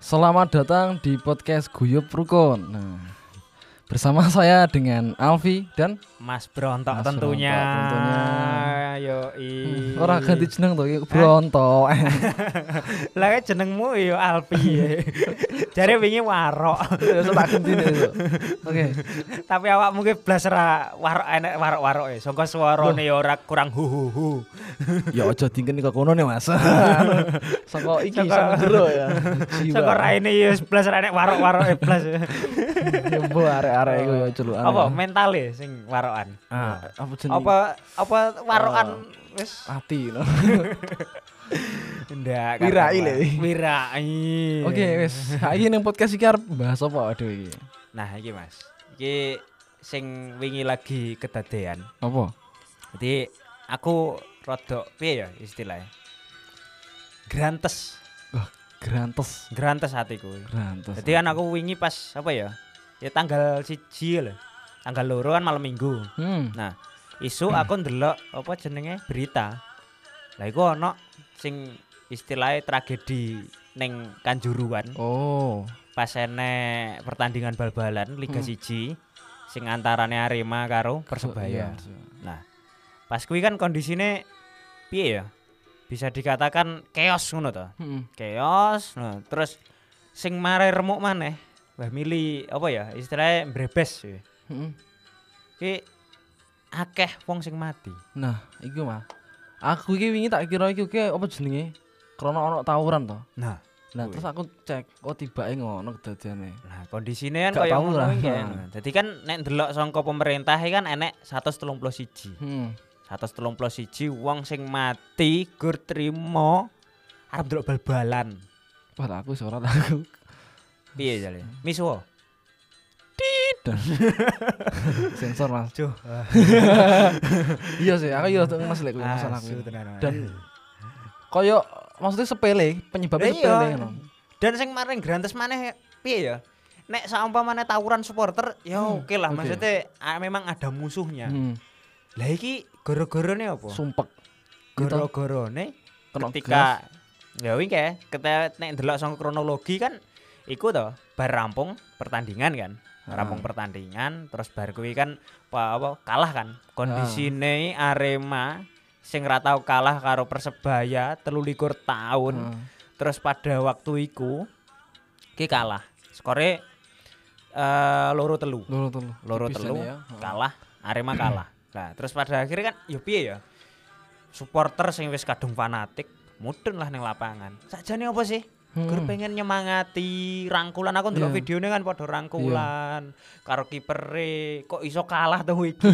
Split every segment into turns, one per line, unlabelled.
Selamat datang di podcast Guyup Rukun. Nah, bersama saya dengan Alfi dan
Mas Brontok
Mas
tentunya.
Brontok tentunya.
Yoi.
orang ganti jeneng tuh yuk, Bronto.
Lah kan jenengmu yo Alpi. Jare wingi warok,
Ya, saya tak ganti deh, yuk. Oke.
tapi awak mungkin blas ra warok enek warok-warok e. Sangka swarane yo ora kurang hu hu hu.
Ya aja dingin kok kono nih Mas. Saka iki
Saka-
saka jero ya. Jiwa.
Sangka raine yo blas ra enek warok-warok e blas.
Ya mbok arek-arek iku ya celukan.
Oh. Apa mentale sing warokan?
Ah, apa jeneng?
Apa apa warokan wis
ati no.
ndak
Wirai le.
Wirai.
Oke,
iya.
wis. Saiki ning podcast iki arep bahas apa aduh iki?
Nah, iki Mas. Iki sing wingi lagi kedadean.
Apa?
Jadi aku rodok piye ya istilahnya? Grantes,
Grantes.
grantes hatiku.
Grantes.
Jadi kan aku wingi pas apa ya? Ya tanggal siji lho. Tanggal loro kan malam Minggu.
Hmm.
Nah, isu aku ndelok apa jenenge berita. Lah iku ono sing istilahnya tragedi ning Kanjuruan
Oh.
pas ene pertandingan bal-balan Liga
Hmm.
Siji sing antarane Arema karo Persebaya.
Iya, iya.
Nah, pas kuwi kan kondisine piye ya? Bisa dikatakan chaos ngono to.
Hmm.
Chaos, nah, terus sing mare remuk maneh, wah mili apa ya? Istilahnya brebes ya.
Hmm.
Ki akeh wong sing mati.
Nah, iku mah. Aku iki wingi tak kira iki oke apa jenenge? Krana ono tawuran to.
Nah,
Nah,
Wih.
terus aku cek, oh tibake ngono kedadiane.
nah kondisine kan
Gak
kaya
tau
ngono
lah.
iki kan. Dadi kan nek ndelok saka pemerintah iki kan enek 131.
Hmm.
131 wong sing mati gur trimo arep ndelok bal-balan.
Wah, tak aku suara aku.
Piye jale?
Hmm.
Misuwo.
Sensor, Mas.
Duh,
iya sih, aku yo Mas lek kuwi masalah
asu
kuwi. Ah,
tenanan.
Dan koyo maksudnya sepele, penyebabnya
Lah Eh, iya.
sepele ngono.
dan sing maring grantes maneh piye ya nek saumpamane tawuran supporter ya
Hmm,
oke lah
oke.
maksudnya ah, memang ada musuhnya
Hmm.
lah iki gara-gara ne apa
Sumpek. Gitu.
gara-gara ne
Kena gas.
ketika ya wingi ya ketika nek ndelok sang kronologi kan iku to bar rampung pertandingan kan
Ah.
rampung pertandingan terus bar kuwi kan apa, apa, kalah kan kondisine
Ah.
Arema sing ra tau kalah karo Persebaya 23 tahun
Heeh.
Terus pada waktu iku ki kalah. Skore eh loro telu.
Loro telu.
Loro
Tipis
telu
ini ya. Heeh.
kalah, Arema kalah. Nah, terus pada akhirnya kan yo piye ya? Supporter sing wis kadung fanatik mudun lah ning lapangan. Sajane apa sih? Gur
Hmm.
pengen nyemangati rangkulan aku ndelok
Iya.
videonya kan padha rangkulan karo kipere kok iso kalah tuh iki.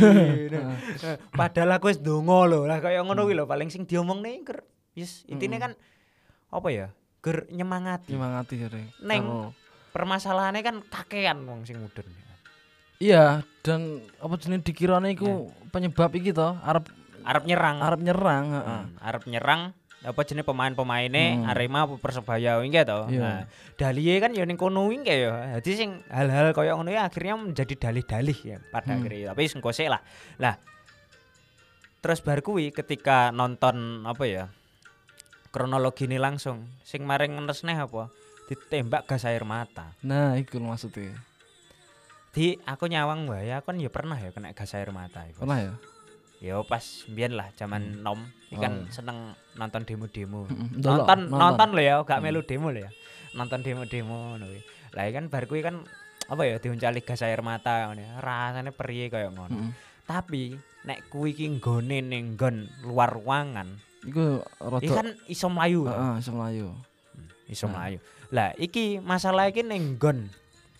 Ah.
Nah, eh, Padahal aku wis donga lho. Lah kaya ngono kuwi lho paling sing diomongne gur wis intine kan apa ya? Gur nyemangati.
Nyemangati jare.
Neng.
Karo-
Permasalahannya kan kakean wong sing mudun.
Iya, dan apa jenis dikirane iku penyebab iki to, arep
Arep nyerang.
arep nyerang, heeh.
Hmm, arep nyerang apa jenis pemain-pemainnya
Hmm.
Arema apa Persebaya wingi to.
Iya.
Nah, dalile kan ya ning kono wingi ya. Dadi sing hal-hal kaya ngono ya akhirnya menjadi dalih-dalih ya pada
Hmm.
akhirnya. Tapi sing kosek lah. Lah terus bar kuwi ketika nonton apa ya kronologi ini langsung sing maring ngenes neh apa ditembak gas air mata
Nah, iku lho maksudnya.
di aku nyawang wae aku kan ya pernah ya kena gas air mata iku.
Pernah ya?
ya pas biyen lah zaman nom ikan
Oh.
seneng nonton demo-demo
Mm-mm,
nonton
ndelok,
nonton, Hmm.
nonton.
lo ya gak melu demo lo ya nonton demo-demo ngono kuwi. lah kan bar kuwi kan apa ya diuncali gas air mata ngono ya. rasanya perih kayak ngono
Heeh.
tapi nek kuwi ki nggone ning nggon luar ruangan
Iku rodok
iki kan iso mlayu tau.
heeh, iso mlayu.
iso
Nah.
mlayu lah iki masalah iki ning nggon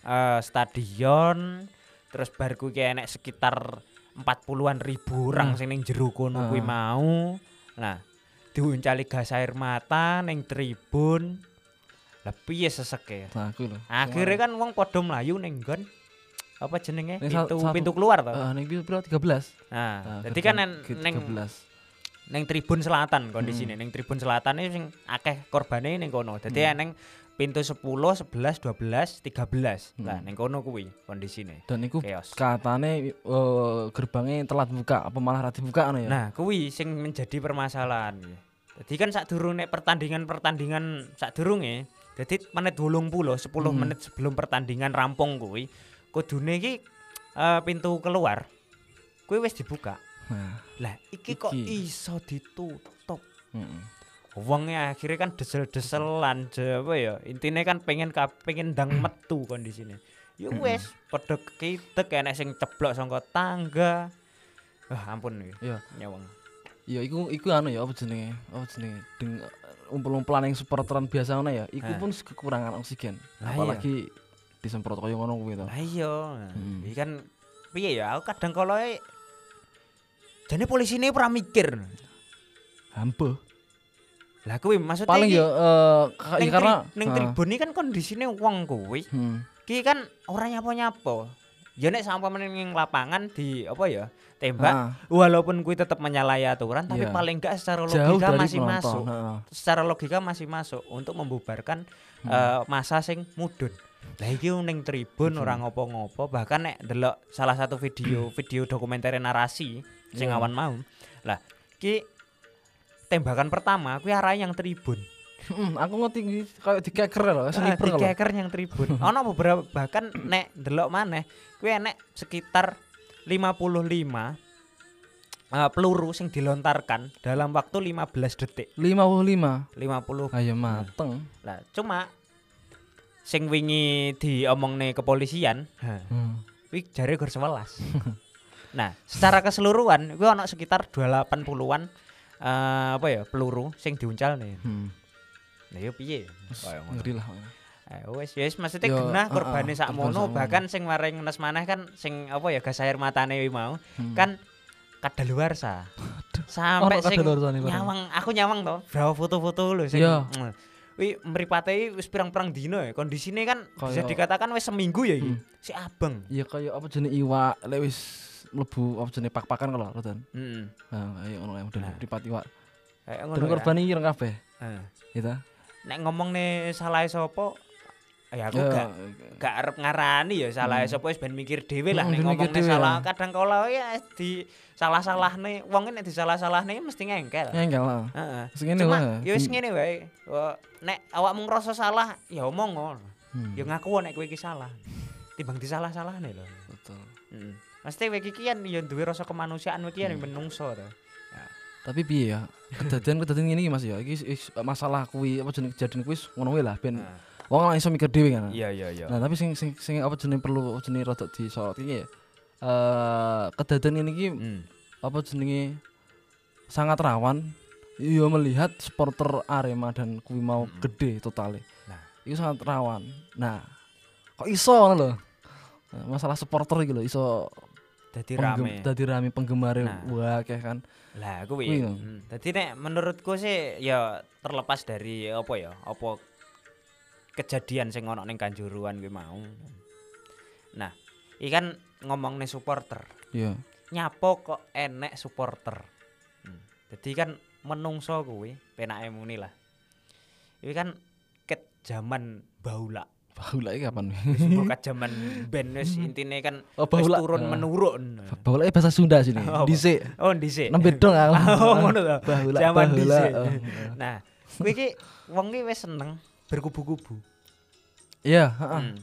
eh, stadion terus bar kuwi ki enek sekitar 40-an ribu orang
Hmm.
sing ning jero kono kuwi
Ah.
mau nah diuncali gas air mata ning tribun lah piye seseke
Nah, aku lho.
akhirnya kan wong padha mlayu ning nggon apa jenenge
Ning sa-
pintu
satu-
pintu keluar to
Heeh, Ah, ning piro 13.
nah
Nah,
dadi kan
gerbang
nen-
gate
ning
13.
ning tribun selatan kondisine ning tribun selatan ini sing akeh korbane ning kono dadi
Hmm.
eneng pintu 10 11 12 13 nah
Hmm.
ning kono kuwi kondisine
Dan iku
chaos
katane eh, gerbangnya telat buka apa malah ra dibuka ngono ya.
nah kuwi sing menjadi permasalahan dadi kan sadurunge pertandingan-pertandingan sadurunge Jadi menit 80, 10
Hmm.
menit sebelum pertandingan rampung kuwi, kudune iki eh, pintu keluar kuwi wis dibuka.
Nah,
Lah, iki, kok
Iki.
iso ditutup?
mm-mm.
Wongnya akhirnya kan desel-deselan je, apa ya intinya kan pengen kap- pengen dang metu kondisinya ya
Hmm.
wes padha kitek enek sing ceblok saka tangga wah ampun ya
Iya.
nyawang
Ya iku iku anu ya apa jenenge? Apa jenenge? Deng umpel-umpelan yang supporteran biasa ngono ya. Iku
Ah.
pun kekurangan oksigen.
Lah iya.
Apalagi disemprot koyo ngono kuwi to.
lah Ah, iya
Oh. Hmm.
iki kan piye ya aku kadang kalau jane polisine ora mikir
Hampe.
lah kuwi maksudnya
Paling
iki
ya eh, ka-
ning
ya karena
tri- ning
Ah.
tribun iki kan kondisine wong kuwi
Hmm.
ki kan ora nyapa-nyapa ya nek sampe ning lapangan di apa ya tembak
Ah,
walaupun kui tetap menyalahi aturan tapi
Iya.
paling enggak secara
jauh
logika
dari
masih
penonton.
masuk
Heeh.
secara logika masih masuk untuk membubarkan
Hmm.
eh, masa sing mudun lah iki ning tribun
Hmm.
orang ngopo-ngopo bahkan nek delok salah satu video video dokumenter narasi sing
Iya.
awan mau lah ki tembakan pertama kui arah yang tribun
Mm, aku ngerti kuwi kayak dikeker lho,
Ah,
sniper lho.
dikeker yang tribun ono beberapa bahkan nek delok maneh kui enek sekitar 55 eh, peluru sing dilontarkan dalam waktu 15 detik
55.
50
Ayo mateng.
Lah, cuma sing wingi diomongne kepolisian,
Hmm.
kuwi jare gor 11. nah, secara keseluruhan kuwi ono sekitar 28-an eh apa ya, peluru sing diuncalne.
Hmm.
Lah yo piye? Kaya ngono.
Ngeri lah.
Eh, wis wis maksudnya
Yo, ah,
genah
ah, korban
korbane sakmono
sakmono.
bahkan sing maring nes maneh kan sing apa ya gas air matane kuwi mau
Hmm.
kan kadaluarsa.
Ono
Sampai sing
kadaluarsane barang.
nyawang aku nyawang to bravo foto-foto lho sing
Iya.
Mm. Wi mripate iki wis pirang-pirang dino ya kondisine kan bisa
Kayak-
dikatakan wis seminggu ya iki
Hmm.
si abang
Ya kayak apa jenis iwak lek wis mlebu apa jenis pak-pakan kalau lho Tan.
heeh
Nah, ayo ngono kae model
Nah.
pripat iwak.
Hmm. kayak ngono
Dan
ya.
korban iki ireng kabeh.
Heeh.
Gitu.
nek ngomong salah sapa ya aku gak gak arep ngarani ya salah sapa wis ben mikir dhewe lah
Hmm,
nek
ben mikir
ngomong
dhewe
salah
lah.
kadang kala "Oh, ya di salah-salahne wong nek disalah-salahne mesti ngengkel
Engkel lah.
heeh
Wis ngene wae.
cuma ya wis
Hmm.
ngene wae Wa- nek awakmu ngrasa salah ya omong ngono
Hmm.
ya ngaku nek kowe iki salah timbang disalah-salahne lho
Betul. Hmm.
Heeh. Mesti kowe iki kan ya duwe rasa kemanusiaan kowe iki yang menungso to.
Tapi piye ya? Kejadian-kejadian ngene iki Mas ya. Iki is- masalah kuwi apa jenis kejadian kuwi ngono wae lah ben
Nah.
wong lah iso mikir dhewe kan.
Iya iya iya.
Nah, tapi sing sing sing apa jenis perlu apa jenis rada disorot iki ya. Eh kejadian ini iki
Hmm.
apa jenenge sangat rawan iya melihat supporter Arema dan kuwi mau gede totalnya
Nah.
itu sangat rawan nah kok iso ngono lho Nah, masalah supporter gitu lho iso
Dadi
penggem-
rame.
dadi rame penggemar
Nah.
wah kayak kan
Lah kuwi.
Kuwi lho.
Hmm. Dadi nek menurutku sih ya terlepas dari apa ya, apa kejadian sing ono ning Kanjuruan kuwi mau. Nah, iki kan ngomong nih supporter.
iya
Nyapo kok enek supporter. Hmm. Jadi kan menungso kuwi penake muni lah. Iki kan ket zaman baula
baula iki kapan
wis buka jaman ben wis intine kan
Oh,
wis
baula.
turun
Ah.
menurun.
baula iki bahasa Sunda sini
Apa?
dhisik
Oh dhisik.
nembe dong aku
Oh, ngono to.
baula
Zaman
baula
dhisik.
oh.
Nah, kuwi iki wong iki wis seneng berkubu-kubu.
iya heeh.
Hmm.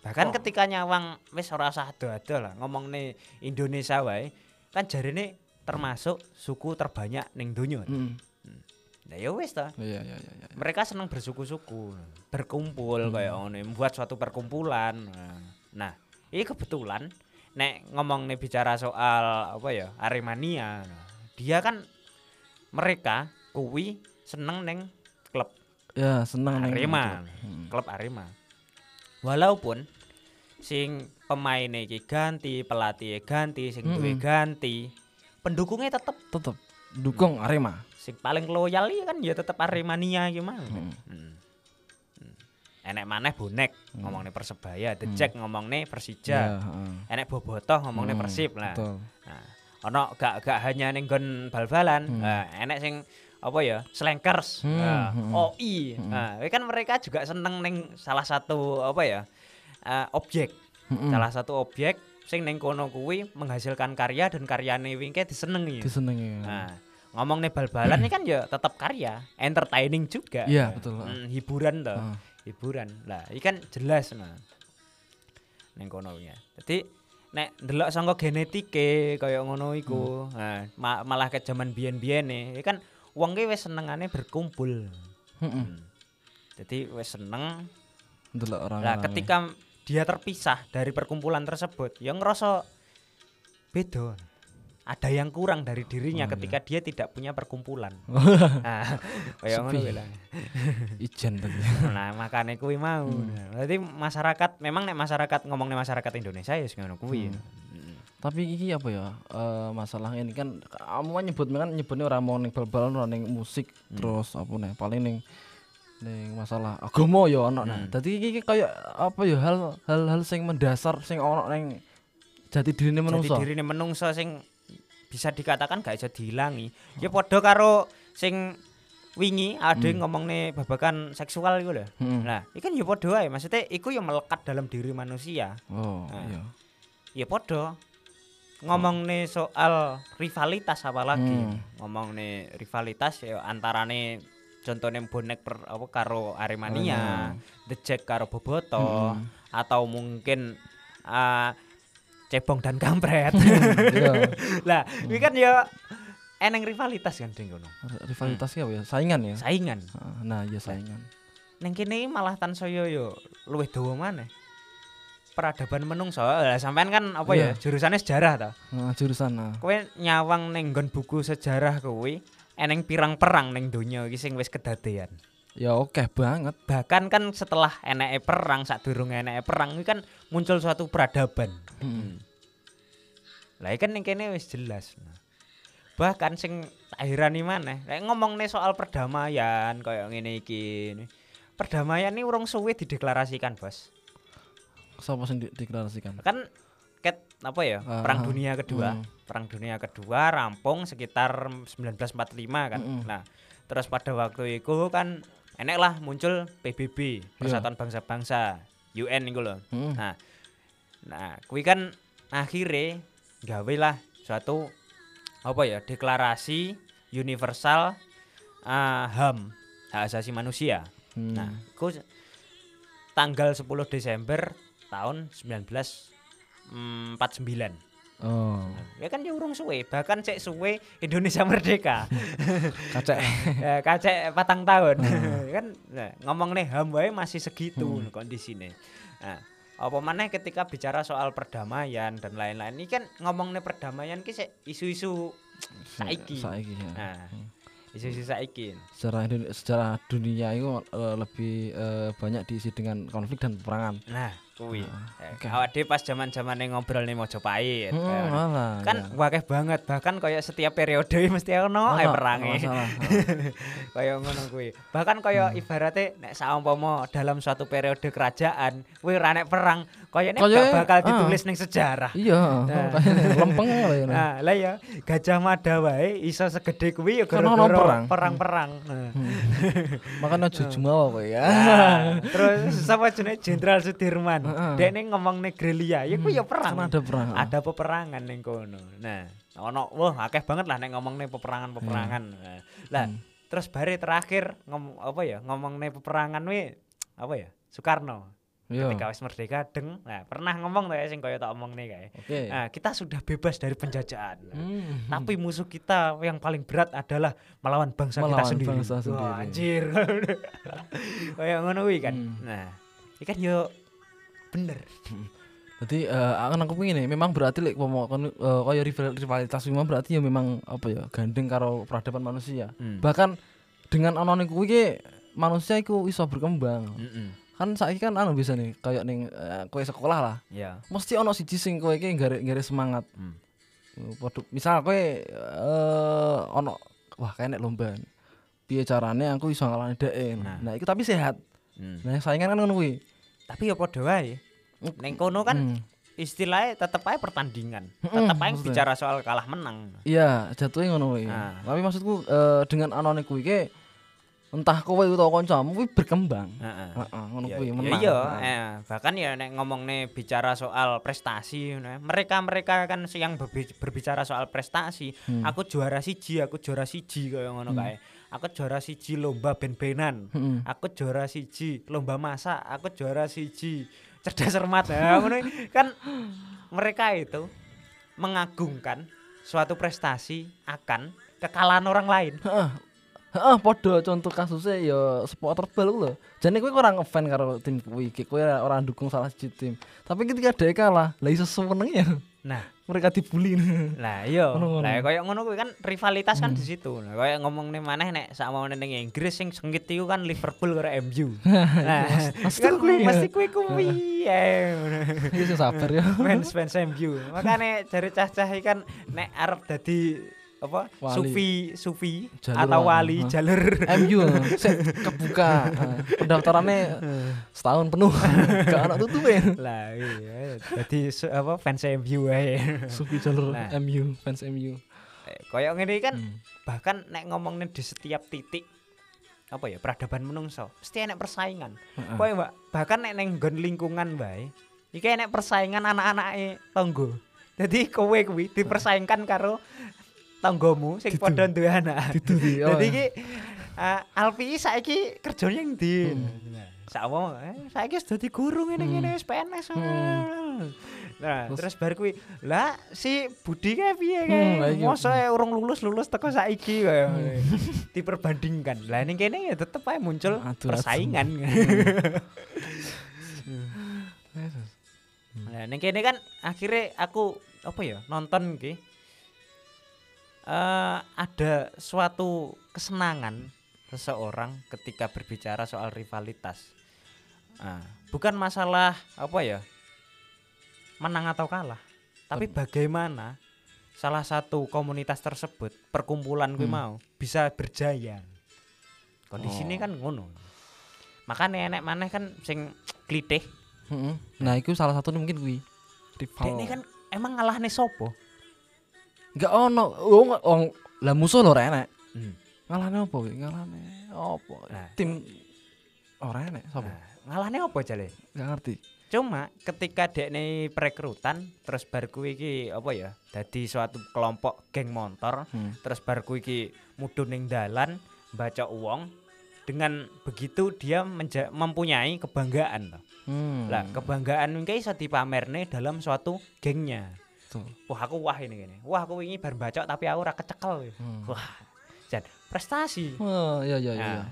Bahkan ketika nyawang wis ora usah ado-ado lah ngomongne Indonesia wae, kan jarine termasuk suku terbanyak ning donya.
Mm.
Nah ya wis ta.
iya iya iya iya.
Mereka seneng bersuku-suku, berkumpul
Hmm.
kayak ngono, membuat suatu perkumpulan. Nah, ini kebetulan nek ngomong nih bicara soal apa ya Aremania, dia kan mereka kuwi seneng neng klub
ya seneng neng-
Arema,
Hmm.
klub Arema. Walaupun sing pemain iki ganti, pelatih e ganti, sing duwe
Mm-mm.
ganti, pendukungnya tetep
tetep dukung Arema
sing paling loyal ya kan ya tetep Aremania iki mau.
Hmm.
Hmm. Hmm. Enek maneh bonek
Hmm.
ngomongne Persebaya, The Jack ngomongne Persija.
Iya, heeh.
Enek Bobotoh ngomongne
Hmm,
Persib lah.
betul.
Nah, ono gak gak hanya ning nggon bal-balan, nah, enek sing apa ya? Slankers,
Hmm,
nah,
hmm.
OI. Nah, ini kan mereka juga seneng ning salah satu apa ya? eh, objek.
Mm-mm.
Salah satu objek sing ning kono kuwi menghasilkan karya dan karyane wingke disenengi.
disenengi
Nah, ngomong nih bal-balan ini kan ya tetap karya, entertaining juga.
Iya, betul. Ah.
Mm, hiburan toh.
Heeh.
hiburan lah iki kan jelas nah ning kono ya dadi nek ndelok saka genetike kaya ngono
Hmm.
iku nah, ma- malah ke jaman biyen-biyene iki kan wong ki wis senengane berkumpul
Heeh.
jadi wis seneng
Ndelok orang.
Nah, ketika dia terpisah dari perkumpulan tersebut, yang ngerasa beda. Ada yang kurang dari dirinya ketika dia tidak punya perkumpulan. nah, kaya
Sepi.
ngono kuwi lah.
ijen tadi.
Nah, makane kuwi mau. Berarti masyarakat memang nek masyarakat ngomong nek masyarakat Indonesia ya Hmm. sing ngono kuwi. Heeh.
Tapi iki apa ya? Eh masalah ini kan kamu kan nyebut kan nyebutnya ora mau ning bal-balan ora ning musik
Hmm.
terus apa nih paling ning ning masalah agama ya ono
Hmm.
nah. Dadi iki kayak apa ya hal hal hal sing mendasar sing ono ning jati dirine
Jadi
manusa.
dirine menungso sing bisa dikatakan gak bisa dihilangi. Ya padha karo sing wingi ada yang ngomongne babakan seksual iku lho.
Heeh.
Nah, iki kan ya padha ae, maksudnya iku ya melekat dalam diri manusia.
Oh,
Nah.
iya.
Ya padha. Ngomongne soal rivalitas apalagi.
Hmm.
Ngomongne rivalitas ya antarane contohnya bonek per, apa karo Aremania, The Jack karo Boboto atau mungkin ah, Cebong dan Kampret.
Iya.
Lah, ini kan ya eneng rivalitas kan ding kono.
Rivalitas ki apa ya? Saingan ya.
Saingan.
Ah, Nah, iya saingan.
Neng kene malah tansaya yo luwih dawa maneh. Peradaban menungso. Lah sampean kan apa
Iya.
ya jurusannya sejarah ta.
Nah, jurusan nah.
Kowe nyawang neng nggon buku sejarah kowe eneng pirang perang neng donya iki sing wis kedadean.
Ya oke banget.
Bahkan kan setelah eneke perang, sadurunge eneke perang iki kan muncul suatu peradaban.
Heeh.
Lah iki kan ning kene wis jelas. Bahkan sing tak herani maneh, lek ngomongne soal perdamaian kaya ngene iki. Perdamaian ini urung suwe dideklarasikan, Bos.
Sapa sing di- dideklarasikan?
Kan ket apa ya?
Ah,
Perang Dunia Kedua.
mm.
Perang Dunia Kedua rampung sekitar 1945 kan.
Mm-mm.
Nah, terus pada waktu itu kan enek lah muncul PBB, Persatuan Bangsa-Bangsa, UN iku lho.
Heeh.
Nah, nah, kui kan akhirnya gawe lah suatu apa ya deklarasi universal eh, HAM hak asasi manusia.
Hmm.
Nah, ku s- tanggal 10 Desember tahun mm, 1949.
Oh,
Ya kan ya urung suwe, bahkan cek suwe Indonesia merdeka.
kacek. Hmm.
Ya, kacek patang tahun kan nah, ngomong nih ham wae masih segitu kondisinya nah, apa mana ketika bicara soal perdamaian dan lain-lain ini kan ngomong nih perdamaian ki sik isu-isu saiki
Saiki ya.
nah, isu-isu saiki
sejarah Indone- sejarah dunia itu eh, lebih eh, banyak diisi dengan konflik dan peperangan.
nah kuwi
oh, oke.
Eh, awak dhewe pas zaman-zaman ngobrol nih Mojopahit
Hmm,
eh,
malah,
kan
ya.
wakeh banget bahkan kayak setiap periode mesti ono
Ono,
ae
Hmm.
perange
masalah.
kaya ngono kuwi. Bahkan kaya ibarate nek saumpama dalam suatu periode kerajaan kuwi ora nek perang, kayane
Kaya-
gak bakal
ah.
ditulis ning sejarah.
iya,
Nah.
makanya lempeng lah ya.
Nah, lah ya Gajah Mada wae iso segede kuwi ya
Karena ono perang. Hmm.
gara-gara perang-perang. Nah.
Makanya jujumawa kok ya.
Nah, terus sama jenis Jenderal Sudirman.
Heeh.
Dek ning ngomong nih gerilya, ya kuwi ya perang.
Karena Kan ada perang.
ada peperangan ning kono. Nah, ono wah akeh banget lah nek ngomongne peperangan-peperangan.
Hmm.
Nah, Lah, terus bare terakhir ngom apa ya? Ngomongne peperangan we apa ya? Soekarno.
Iya.
Ketika wis merdeka deng. Nah, pernah ngomong ta ya sing kaya tak omongne kae.
Oke.
Nah, kita sudah bebas dari penjajahan.
Iya. Hmm.
Tapi musuh kita yang paling berat adalah melawan bangsa
Melawan
kita sendiri.
bangsa sendiri.
Wah, anjir. Kayak ngono kuwi kan.
Hmm.
Nah, ini kan yo bener.
Jadi eh, akan aku pengen nih, memang berarti like, pomo, kon, eh, kaya rival- rivalitas memang berarti ya memang apa ya gandeng karo peradaban manusia.
Hmm.
Bahkan dengan ono niku iki manusia iku iso berkembang.
Heeh.
Kan saiki kan anu bisa nih kayak ning eh, kowe sekolah lah.
Ya.
Mesti ono siji sing kowe iki ngare-ngare semangat.
Hmm.
Eh, Produk misal kowe eh ono wah kayak nek lomba. Piye carane aku iso ngalahne dhek. e. Nah.
Nah.
iku tapi sehat.
Hmm.
Nah, saingan kan ngono kuwi.
tapi ya padha wae neng kono kan
Hmm.
istilahnya tetep aja pertandingan tetep aja
maksudnya.
bicara soal kalah menang
Iya, jatuhnya ngono kuwi.
Ah.
Tapi maksudku eh, dengan anone kuwi iki entah kowe utawa kancamu kuwi berkembang.
Heeh.
Heeh, ngono
Ya,
kuwi
ya
menang.
Ah. iya,
Heeh.
eh, bahkan ya nek ngomongne bicara soal prestasi ngono ya, mereka-mereka kan
Hmm.
yang berbi- berbicara soal prestasi aku juara siji aku juara siji kaya ngono kae aku juara siji lomba ben-benan
Heeh.
aku juara siji lomba masak aku juara siji cerdas cermat nah, ngono iki. kan mereka itu mengagungkan suatu prestasi akan kekalahan orang lain
Heeh. Heeh, padha contoh kasusnya ya supporter bal ku lho. Jane kowe ora ngefan karo tim kuwi iki, kowe ora ora ndukung salah siji tim. Tapi ketika dhek kalah, lah iso seneng ya.
nah
Mereka dibully.
Lah iya,
Ngono-ngono.
lah koyo ngono kuwi kan rivalitas kan di
Hmm.
situ. Lah koyo ngomongne maneh nek sakmene ning Inggris sing sengit iku kan Liverpool karo MU. Nah,
Mesti
kan
kuwi ya.
mesti kuwi kuwi. eh, ngono.
Iya sing sabar ya.
Fans fans MU. Makane jare cah-cah iki kan nek arep dadi apa
Wali.
sufi sufi
Jalur
atau
wali. Hah?
wali jalur
MU sik kebuka. Heeh. Pendaftarannya setahun penuh. Gak ana tutupin.
lah iya jadi su- apa fans MU ae
Sufi jalur
Nah.
MU, fans MU.
Eh, koyo ngene iki kan
Hmm.
bahkan nek ngomongnya di setiap titik apa ya peradaban menungso mesti enek persaingan
Heeh.
Kowe mbak bahkan nek neng nggon lingkungan bae iki enek persaingan anak-anake tonggo jadi kowe kuwi dipersaingkan karo tonggomu sing
Didu.
padha duwe anak
Didu di.
jadi iki eh, Alfi saiki kerjanya yang di
Hmm.
sama eh, saiki sudah di guru ngene ngene wis PNS nah
Hmm. Terus-
terus, bar kuwi lah si Budi kae piye
Hmm, lah
kae
iya.
mosok e urung lulus lulus teko saiki kaya diperbandingkan lah ning kene ya tetep ae muncul
Aduh,
persaingan Nah, ning kene kan akhirnya aku apa ya nonton ki. Eh ada suatu kesenangan seseorang ketika berbicara soal rivalitas. Ah, bukan masalah apa ya menang atau kalah, tapi bagaimana salah satu komunitas tersebut, perkumpulan gue
Hmm.
mau bisa berjaya. Kondisi ini
Oh.
kan ngono. Makanya enek maneh kan sing klitih
Heeh. Nah, itu salah satunya mungkin kuwi. Rival.
Dekne kan emang ngalahne sopo?
Enggak ono. Wong wong lah musuh lho ora enek.
Hmm.
Ngalahne opo kuwi? Ngalahne opo?
Nah.
Tim ora enek sapa?
Nah, ngalahne apa jale?
Enggak ngerti.
Cuma ketika dekne perekrutan terus bar kuwi iki apa ya? Dadi suatu kelompok geng motor,
Hmm.
terus bar kuwi iki mudhun ning dalan baca uang dengan begitu dia menja- mempunyai kebanggaan toh.
Hmm.
Lah, kebanggaan iki iso dipamerne dalam suatu gengnya.
Betul.
Wah, aku wah ini gini. Wah, aku ini bar bacok tapi aku ora kecekel.
Hmm.
Wah. Jan, prestasi.
Oh, iya iya iya.
Nah.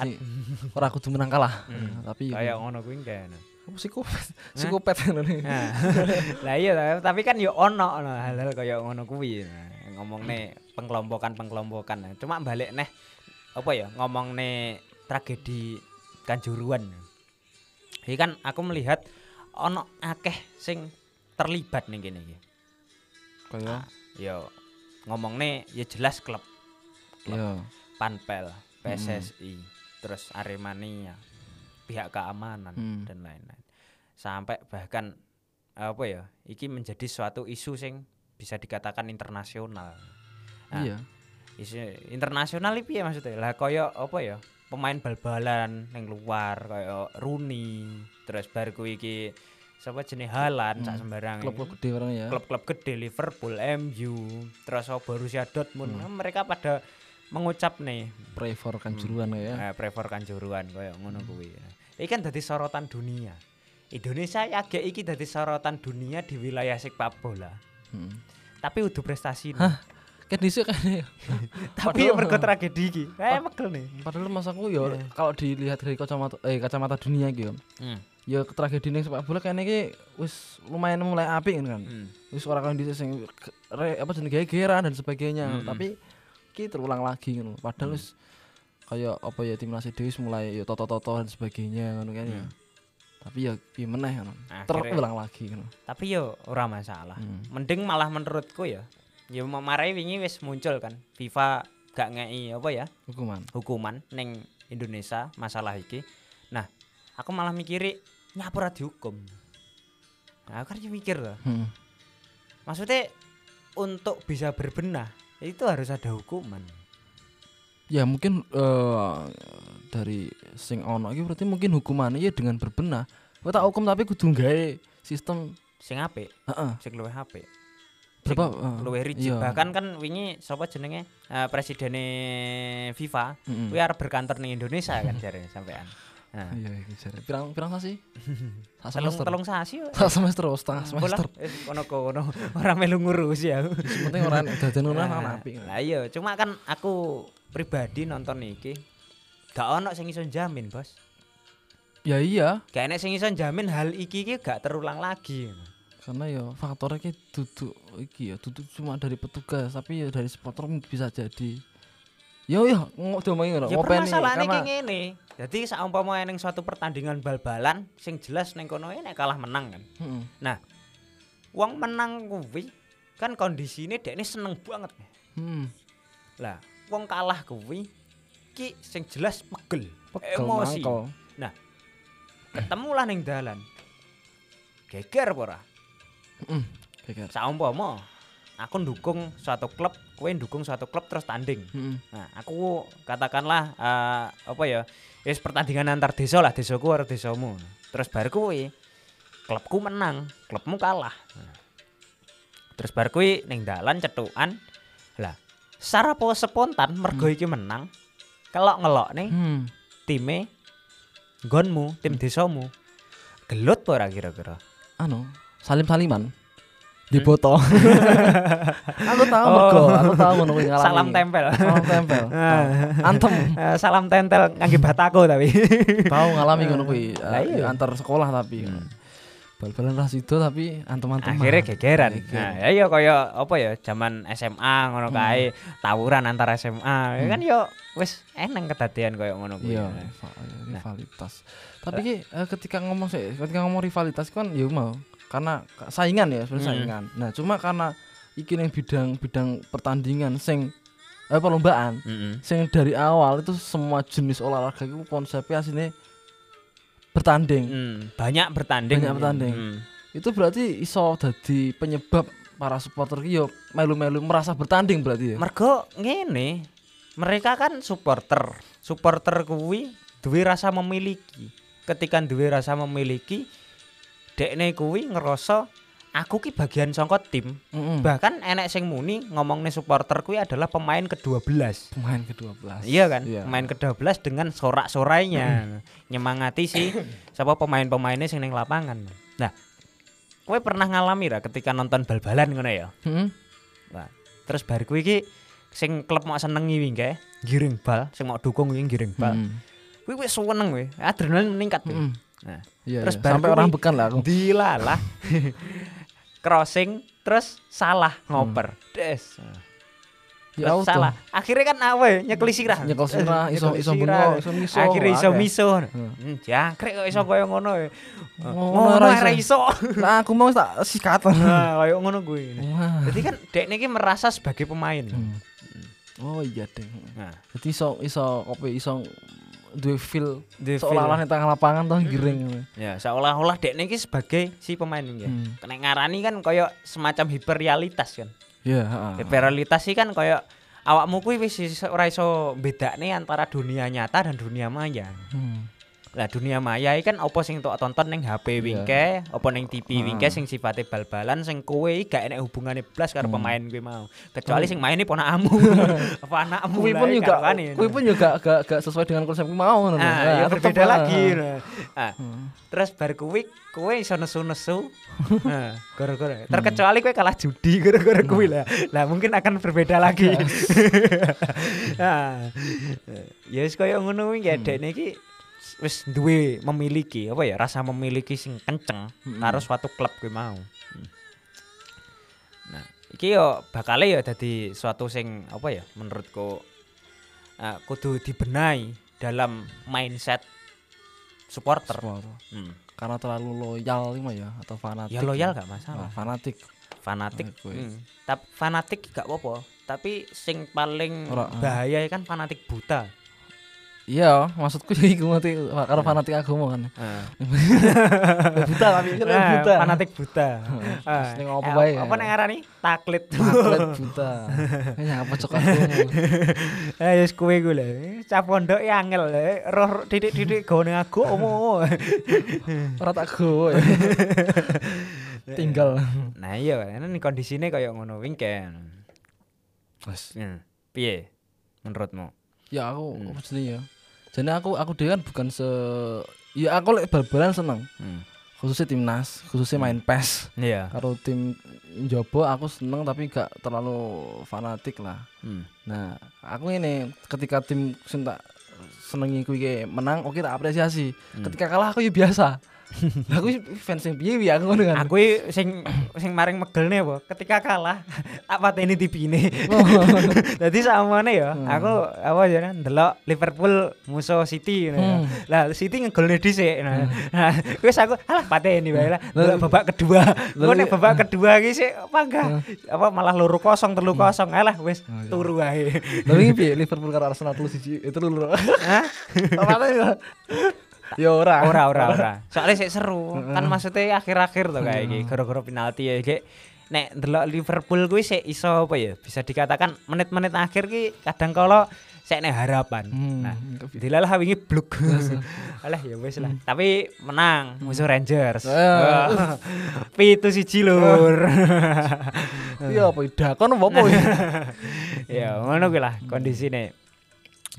iya. Jadi ora kudu menang kalah. Nah,
Hmm.
Tapi
Kayak ngono kuwi kan.
kamu psikopat, psikopat ngono nih.
Nah, lah iya ta, tapi kan yo ono ono hal-hal kaya ngono kuwi. Nah, Ngomongne pengelompokan-pengelompokan. Nah, Cuma balik neh apa ya ngomongne tragedi kanjuruan. Iki kan aku melihat ono akeh sing terlibat ning kene iki.
Kayak
Yo ngomongne ya jelas klub
iya.
Panpel,
Hmm.
PSSI, terus Aremania, pihak keamanan
Hmm.
dan lain-lain. Sampai bahkan apa ya, iki menjadi suatu isu sing bisa dikatakan internasional. Nah,
Iya.
Isu internasional iki piye maksudnya? Lah kaya apa ya? Pemain bal-balan ning luar kaya Rooney, terus bar kuwi iki sapa jenenge Haaland sak sembarang.
Klub-klub Hmm. gede orang ya.
klub-klub gede Liverpool, MU, terus Borussia Dortmund,
Hmm.
mereka pada mengucap nih
Prefer kanjuruan ya.
Eh, prefer kanjuruan koyo ngono kuwi. Iki kan dadi sorotan dunia. Indonesia ya agak iki dadi sorotan dunia di wilayah sepak bola.
Heeh.
Tapi udah prestasi nih.
Hah? Kan Hmm. dhisik kan ya.
Tapi ya
padahal-
mergo tragedi iki. Eh megel nih.
Padahal masaku ya kalau dilihat dari kacamata eh kacamata dunia gitu.
Hmm.
Ya tragedi ning sepak bola kayaknya iki wis lumayan mulai apik kan.
Hmm.
Wis ora kondisi sing ke- re- apa jenenge gegeran dan sebagainya.
Mm-mm.
Tapi iki terulang lagi ngono. Padahal wis kayak apa ya timnas Dewi mulai ya toto-toto dan sebagainya ngono kan ya. Tapi ya gimana ya terulang lagi ngono.
Tapi yo ora masalah.
Hmm.
Mending malah menurutku ya. Ya memarai wingi wis muncul kan. FIFA gak ngei apa ya?
Hukuman.
hukuman neng Indonesia masalah iki. Nah, aku malah mikiri nyapura dihukum. Nah, aku kan yo mikir loh.
Hmm.
Maksudnya untuk bisa berbenah itu harus ada hukuman.
Ya mungkin eh, dari sing ono iki berarti mungkin hukumannya ya dengan berbenah. Kowe tak hukum tapi kudu gawe sistem
Sing apik,
heeh.
sing luwih apik.
Berapa,
sing
eh,
luwih rigid.
iya.
Bahkan kan wingi sapa jenenge eh, presidene FIFA
Mm-mm.
kuwi arep berkantor ning Indonesia kan jare sampean. Nah,
Iya, iki jare. Pirang pirang sasi? Sak
telung
semester.
telung sasi yo.
Sak semester, oh, setengah semester.
Bola, eh, kono kono ora melu ngurus ya.
Penting ora nek dadan ora ana apik.
Lah iya, cuma kan aku pribadi nonton iki gak ono sing iso jamin, Bos.
Ya iya,
Gak enek sing iso jamin hal iki iki gak terulang lagi.
karena ya faktornya kayak duduk iki ya duduk cuma dari petugas tapi ya dari supporter m- bisa jadi yo yo ngomong diomongin ngono
Ya
ngopeni,
permasalahannya
karena
kayak ngene. Jadi saumpama ning suatu pertandingan bal-balan sing jelas ning kono nek kalah menang kan.
Mm-mm.
Nah, wong menang kuwi kan kondisine dekne seneng banget.
hmm,
Lah, wong kalah kuwi ki sing jelas pegel,
pegel
emosi.
mangkel.
Ketemulah ning dalan. Geger apa ora?
Mm-mm, geger.
Saumpama aku ndukung suatu klub, kowe ndukung suatu klub terus tanding.
Mm-mm.
Nah, aku katakanlah eh, apa ya? Wis pertandingan antar desa lah, desaku karo desamu. Terus bar kuwi klubku menang, klubmu kalah. Nah. Terus bar kuwi ning dalan cetukan. Lah, secara po- spontan mergo iki menang, kelok-ngelok nih
Hmm.
time gonmu, tim desamu. Gelut apa ora kira-kira?
anu salim saliman di boto aku tahu
Oh. Ah.
mergo aku tahu ngono kuwi ngalami.
Salam tempel.
salam tempel antem
Eh, salam tentel ngangge batako tapi.
tahu ngalami ngono kuwi Eh,
Lah iya. Hmm.
antar sekolah tapi bal-balan ras itu tapi antem-antem Ah.
akhirnya gegeran.
Geger.
Nah, ya yo kaya apa ya zaman SMA ngono
Hmm.
kae, tawuran antar SMA. Ya kan yo wis eneng kedadean kaya ngono kuwi.
iya rival- iya, rivalitas tapi ki eh, ketika ngomong sih ketika ngomong rivalitas kan ya mau karena ka- saingan ya sebenarnya
Mm.
saingan nah cuma karena iki ning bidang-bidang pertandingan sing eh, perlombaan
Heeh.
sing dari awal itu semua jenis olahraga itu konsepnya aslinya bertanding
banyak bertanding.
Banyak bertanding.
Mm.
itu berarti iso jadi penyebab para supporter ki yo melu-melu merasa bertanding berarti ya
Mergo ngene, mereka kan supporter. Supporter kuwi duwe rasa memiliki. Ketika duwe rasa memiliki, dekne kuwi ngerasa aku ki bagian saka tim.
Mm-mm.
Bahkan enek sing muni ngomongne supporter kuwi adalah pemain ke-12.
pemain ke-12
Iya kan?
Iya.
Main ke-12 dengan sorak-sorainya. Nyemangati sih siapa pemain-pemainnya sing ning lapangan. Nah, kowe pernah ngalami ra ketika nonton bal-balan ngono ya?
Mm-mm.
Nah, terus bar kuwi iki sing klub mau senengi wingi kae, giring bal, sing mau dukung wingi giring bal.
Mm.
Kuwi wis seneng kuwi, adrenalin meningkat kuwi.
Mm-mm.
Nah,
Iya, iya.
Terus baru
sampai
kuwi-
orang bekan lah aku
dilalah crossing terus salah ngoper. Des.
ya auto.
Terus salah. Akhirnya kan awe nyekel sirah.
nyekel sirah
Eh,
iso
nyekel
iso
sirah.
bengok iso miso
Akhirnya iso
akeh.
miso.
Hmm.
Hmm, jangkrik kok iso koyo ngono. ya.
Oh, Ngono
Ngono
ra
ora iso.
nah aku mau tak sikatan
Nah, koyo ngono kuwi.
Wah.
Jadi kan dekne iki merasa sebagai pemain.
Hmm. oh iya deh
Nah,
jadi iso iso kopi iso duwe feel
Duwe feel.
seolah-olah di tengah lapangan toh giring
ya seolah-olah dekne iki sebagai si pemain ya.
Hmm.
Kena ngarani kan koyo semacam hiperrealitas kan.
ya heeh.
Hiperrealitas sih kan koyo awakmu kuwi wis iso- ora iso bedakne antara dunia nyata dan dunia maya.
Hmm.
Lah dunia maya iki kan apa sing tok tonton ning HP wingke, apa ning
Hmm.
TV wingke sing sifate bal-balan sing kowe iki gak enek hubungane blas karo
Hmm.
pemain kowe mau. Kecuali sing maine ponakamu. apa anakmu.
Kui
lah,
Hmm. pun
iki
juga,
karuan ya.
kui pun juga gak gak sesuai dengan konsep kui mau ngono.
Nah,
Nah,
ya
tetep
Ah, berbeda
lah.
lagi. nah. Ah, Terus bar kuwi kowe iso nesu-nesu. Nah, gara-gara terkecuali kowe kalah judi gara-gara kuwi lah. Lah mungkin akan berbeda lagi. Nah, ya wis koyo ngono kuwi ya
Hmm.
dekne iki wis duwe memiliki apa ya rasa memiliki sing kenceng
Hmm.
karo suatu klub kuwi mau. Nah, iki yo bakale yo dadi suatu sing apa ya menurutku eh, kudu dibenahi dalam mindset supporter.
Supporter.
Hmm.
Karena terlalu loyal ini mah ya atau fanatik.
Ya loyal gak
Ah,
masalah.
fanatik.
Fanatik.
Aku ya.
Hmm. Tapi fanatik gak apa-apa. Tapi sing paling
Ora, ah.
bahaya kan fanatik buta.
Iya, maksudku ya iku ngerti karena fanatik agama kan. Buta tapi kan
Nah,
buta.
Fanatik buta. Ah,
Terus ning apa
eh,
bae ya?
Apa nek ngarani? Taklid.
Atlet buta. Kayaknya apa cok agama.
Eh wis kowe iku lho. Cah pondok ya angel. eh. Roh
Ah.
titik-titik gone aku omo.
Ora tak gowo ya. tinggal.
Nah iya, ini kondisine kaya ngono wingken.
Wes.
Hmm. Piye? Menurutmu?
Ya aku apa jenenge ya. Jadi aku aku dhewe kan bukan se ya aku lek bal-balan seneng,
Hmm.
khususnya timnas, khususnya main PES.
Iya.
Karo tim Jobo aku seneng tapi gak terlalu fanatik lah.
Hmm.
Nah, aku ini ketika tim sing tak senengi kuwi iki menang, oke tak apresiasi.
Hmm.
Ketika kalah aku ya biasa. Lah aku fans sing piye wi aku ngono kan.
Aku i- sing sing maring megelne apa? Ketika kalah tak pateni tipine. Dadi samane ya, aku apa ya ndelok Liverpool musuh City ngono ya.
Hmm.
Lah City ngegolne dhisik. ngono ya. Nah, wis aku alah pateni wae lah. Ndelok babak kedua. Engko nek babak kedua iki sik apa enggak? Apa malah loro kosong, telu kosong. Alah wis turu wae.
Tapi iki piye Liverpool karo Arsenal terus siji itu lho.
Hah?
Apa Ya ora.
ora ora ora soalnya sik seru kan maksudnya akhir-akhir tuh kayak gini gara-gara penalti ya kayak nek ndelok Liverpool kuwi sik iso apa ya bisa dikatakan menit-menit akhir ki kadang kalau sik nek harapan
Hmm,
nah
tapi-
dilalah wingi bluk alah ya wis lah tapi menang musuh
Eh.
Rangers Hmm. Wah. pitu siji lur
Iya apa dakon apa apa ya?
ya ngono kuwi lah kondisine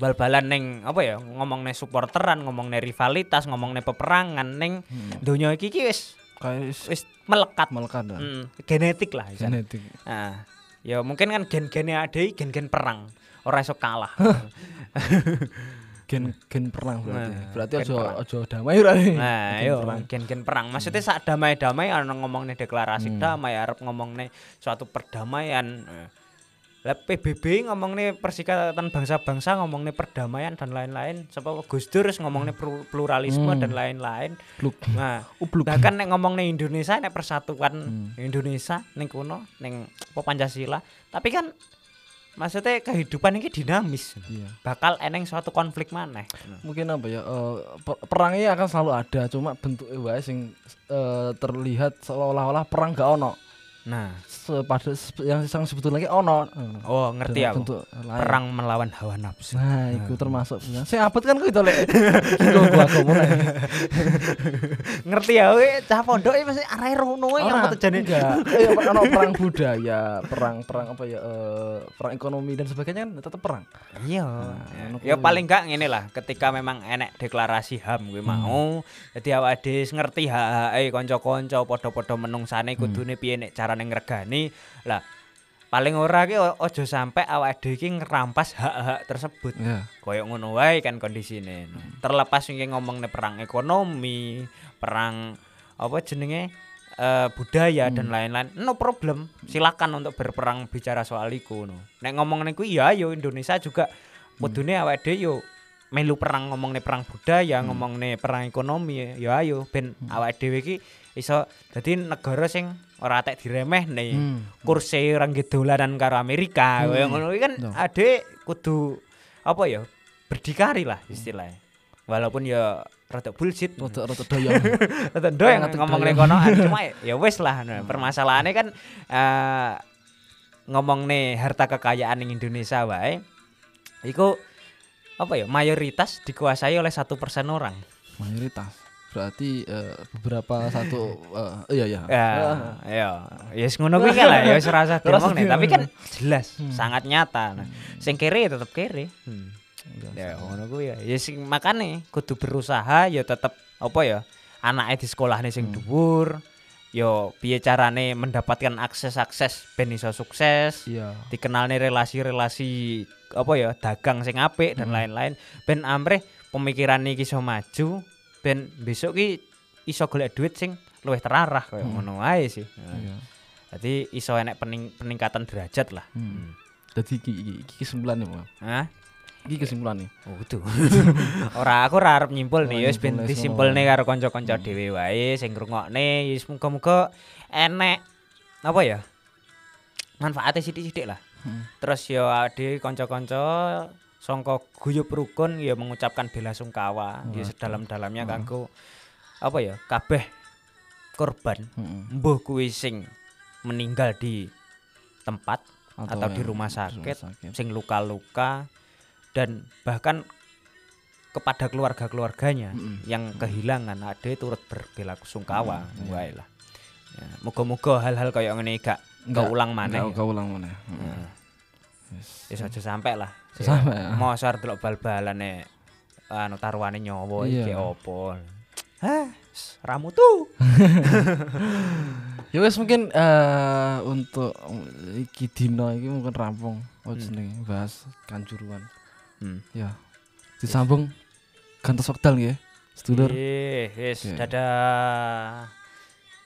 bal-balan neng apa ya ngomongne supporteran ngomongne rivalitas ngomongne peperangan neng donya iki ki wis
Kayak wis
wis melekat
melekat dah.
Mm, genetik lah Isan.
Hmm. Genetik.
Nah, ya mungkin kan gen-gennya ada i, gen-gen perang ora iso kalah
Gen gen perang berarti.
Nah,
Berarti
gen
aja
perang.
aja damai ora. ini.
nah
Gen
yo
perang. Hmm.
gen-gen perang maksudnya sak damai-damai ana ngomongnya deklarasi damai arep ngomongnya suatu perdamaian Eh, lah PBB ngomongnya persikatan bangsa-bangsa ngomongnya perdamaian dan lain-lain sapa Gus Dur wis ngomongnya plu- pluralisme
Hmm.
dan lain-lain
Bluk.
nah
Ubluk.
bahkan nek ngomong ning Indonesia nek persatuan
Hmm.
Indonesia ning kuno ning apa Pancasila tapi kan maksudnya kehidupan ini dinamis
Iya.
bakal eneng suatu konflik maneh
mungkin apa ya eh, per- perangnya akan selalu ada cuma bentuknya wae sing eh, terlihat seolah-olah perang gak ono
nah
sepada se- yang yang sebetulnya ki ono Eh,
oh ngerti
dengan
aku
bentuk lain.
perang melawan hawa nafsu
nah itu termasuk sing abot kan kuwi to lek Gua- gua agama lek
ngerti ya we cah pondok iki mesti arek rono we
Ora,
Oh, iya, apa terjadi
enggak. Eh, ya, ono perang budaya perang perang apa ya eh, perang ekonomi dan sebagainya kan tetap perang
iya
ngono
ya
kuwi.
paling gak ngene lah ketika memang enek deklarasi HAM kuwi mau dadi awake dhewe wis ngerti hak-hake kanca-kanca padha-padha menungsane kudune piye nek carane ngregani lah paling ora ki o- ojo sampe awake dhewe ki ngerampas hak-hak tersebut
ya
koyo ngono wae kan kondisine terlepas wingi ngomongne perang ekonomi perang apa jenenge eh, budaya dan lain-lain no problem silakan untuk berperang bicara soal iku no nek ngomongne kuwi ya yo Indonesia juga kudune awake dhewe yo melu perang ngomongne perang budaya ngomongne perang ekonomi ya ayo ben awake dhewe iki iso dadi negara sing ora tek diremehne
Hmm.
kursi orang dolanan karo Amerika kaya ngono iki kan
Betul.
ade kudu apa ya berdikari lah istilahnya walaupun ya rada bullshit
rotok rotok doyong
rada doang
Hmm. Rada
ngomong
doyong.
konoan cuma ya wes lah nah, permasalahannya kan eh ngomong harta kekayaan yang Indonesia wae iku apa ya mayoritas dikuasai oleh satu persen orang
mayoritas berarti eh, beberapa satu eh, iya iya
ya ya ya yes, ngono kuwi kan lah ya wis rasa
Ora
diomong nih
usah
tapi kan
diomong.
jelas sangat nyata nah sing kere ya tetep kere
Iya,
ya ngono kuwi ya ya sing makane kudu berusaha ya tetep apa ya anake di sekolahne
Hmm.
sing dhuwur ya piye carane mendapatkan akses-akses ben iso sukses
iya
dikenalne relasi-relasi apa ya dagang sing apik
Hmm.
dan lain-lain ben amrih pemikiran iki iso maju ben besok ki iso golek duit sing luwih terarah kaya
Hmm.
ngono ae sih.
iya
Dadi iso enek pening- peningkatan derajat lah.
Hmm. Jadi iki iki, iki kesimpulan nih, Bang.
Hah?
Iki kesimpulan nih.
Oh, kudu. ora aku ora arep nyimpul
Ora
nih, wis ben
nyimpul, wis Hmm.
disimpulne karo kanca-kanca dhewe wae sing ngrungokne, wis muga-muga enek apa ya? Manfaatnya sithik-sithik lah.
Hmm.
Terus ya ade kanca-kanca sangka guyub rukun ya mengucapkan bela sungkawa ya sedalam-dalamnya kanggo apa ya? Kabeh korban
Heeh.
mbuh kuwi sing meninggal di tempat atau, di rumah sakit sing luka-luka dan bahkan kepada keluarga-keluarganya
Mm-mm.
yang kehilangan ade turut berbela sungkawa
Mm, iya.
wae lah. Ya, Moga-moga hal-hal kayak ngene gak
Nggak,
keulang maneh. Mm.
Enggak ulang maneh. Mm.
Heeh.
Yes.
Wis aja sampe lah.
Sampai, ah.
Mosor delok bal-balane anu taruhane nyawa
Iya.
iki opo. Hah, s- ramu tuh.
Ya wes mungkin eh untuk mm, iki dino iki mungkin rampung. Oh jenenge bahas kanjuruan.
Hmm.
Ya. Disambung gantos wekdal nggih. Sedulur.
Ih, wis
Oke.
dadah.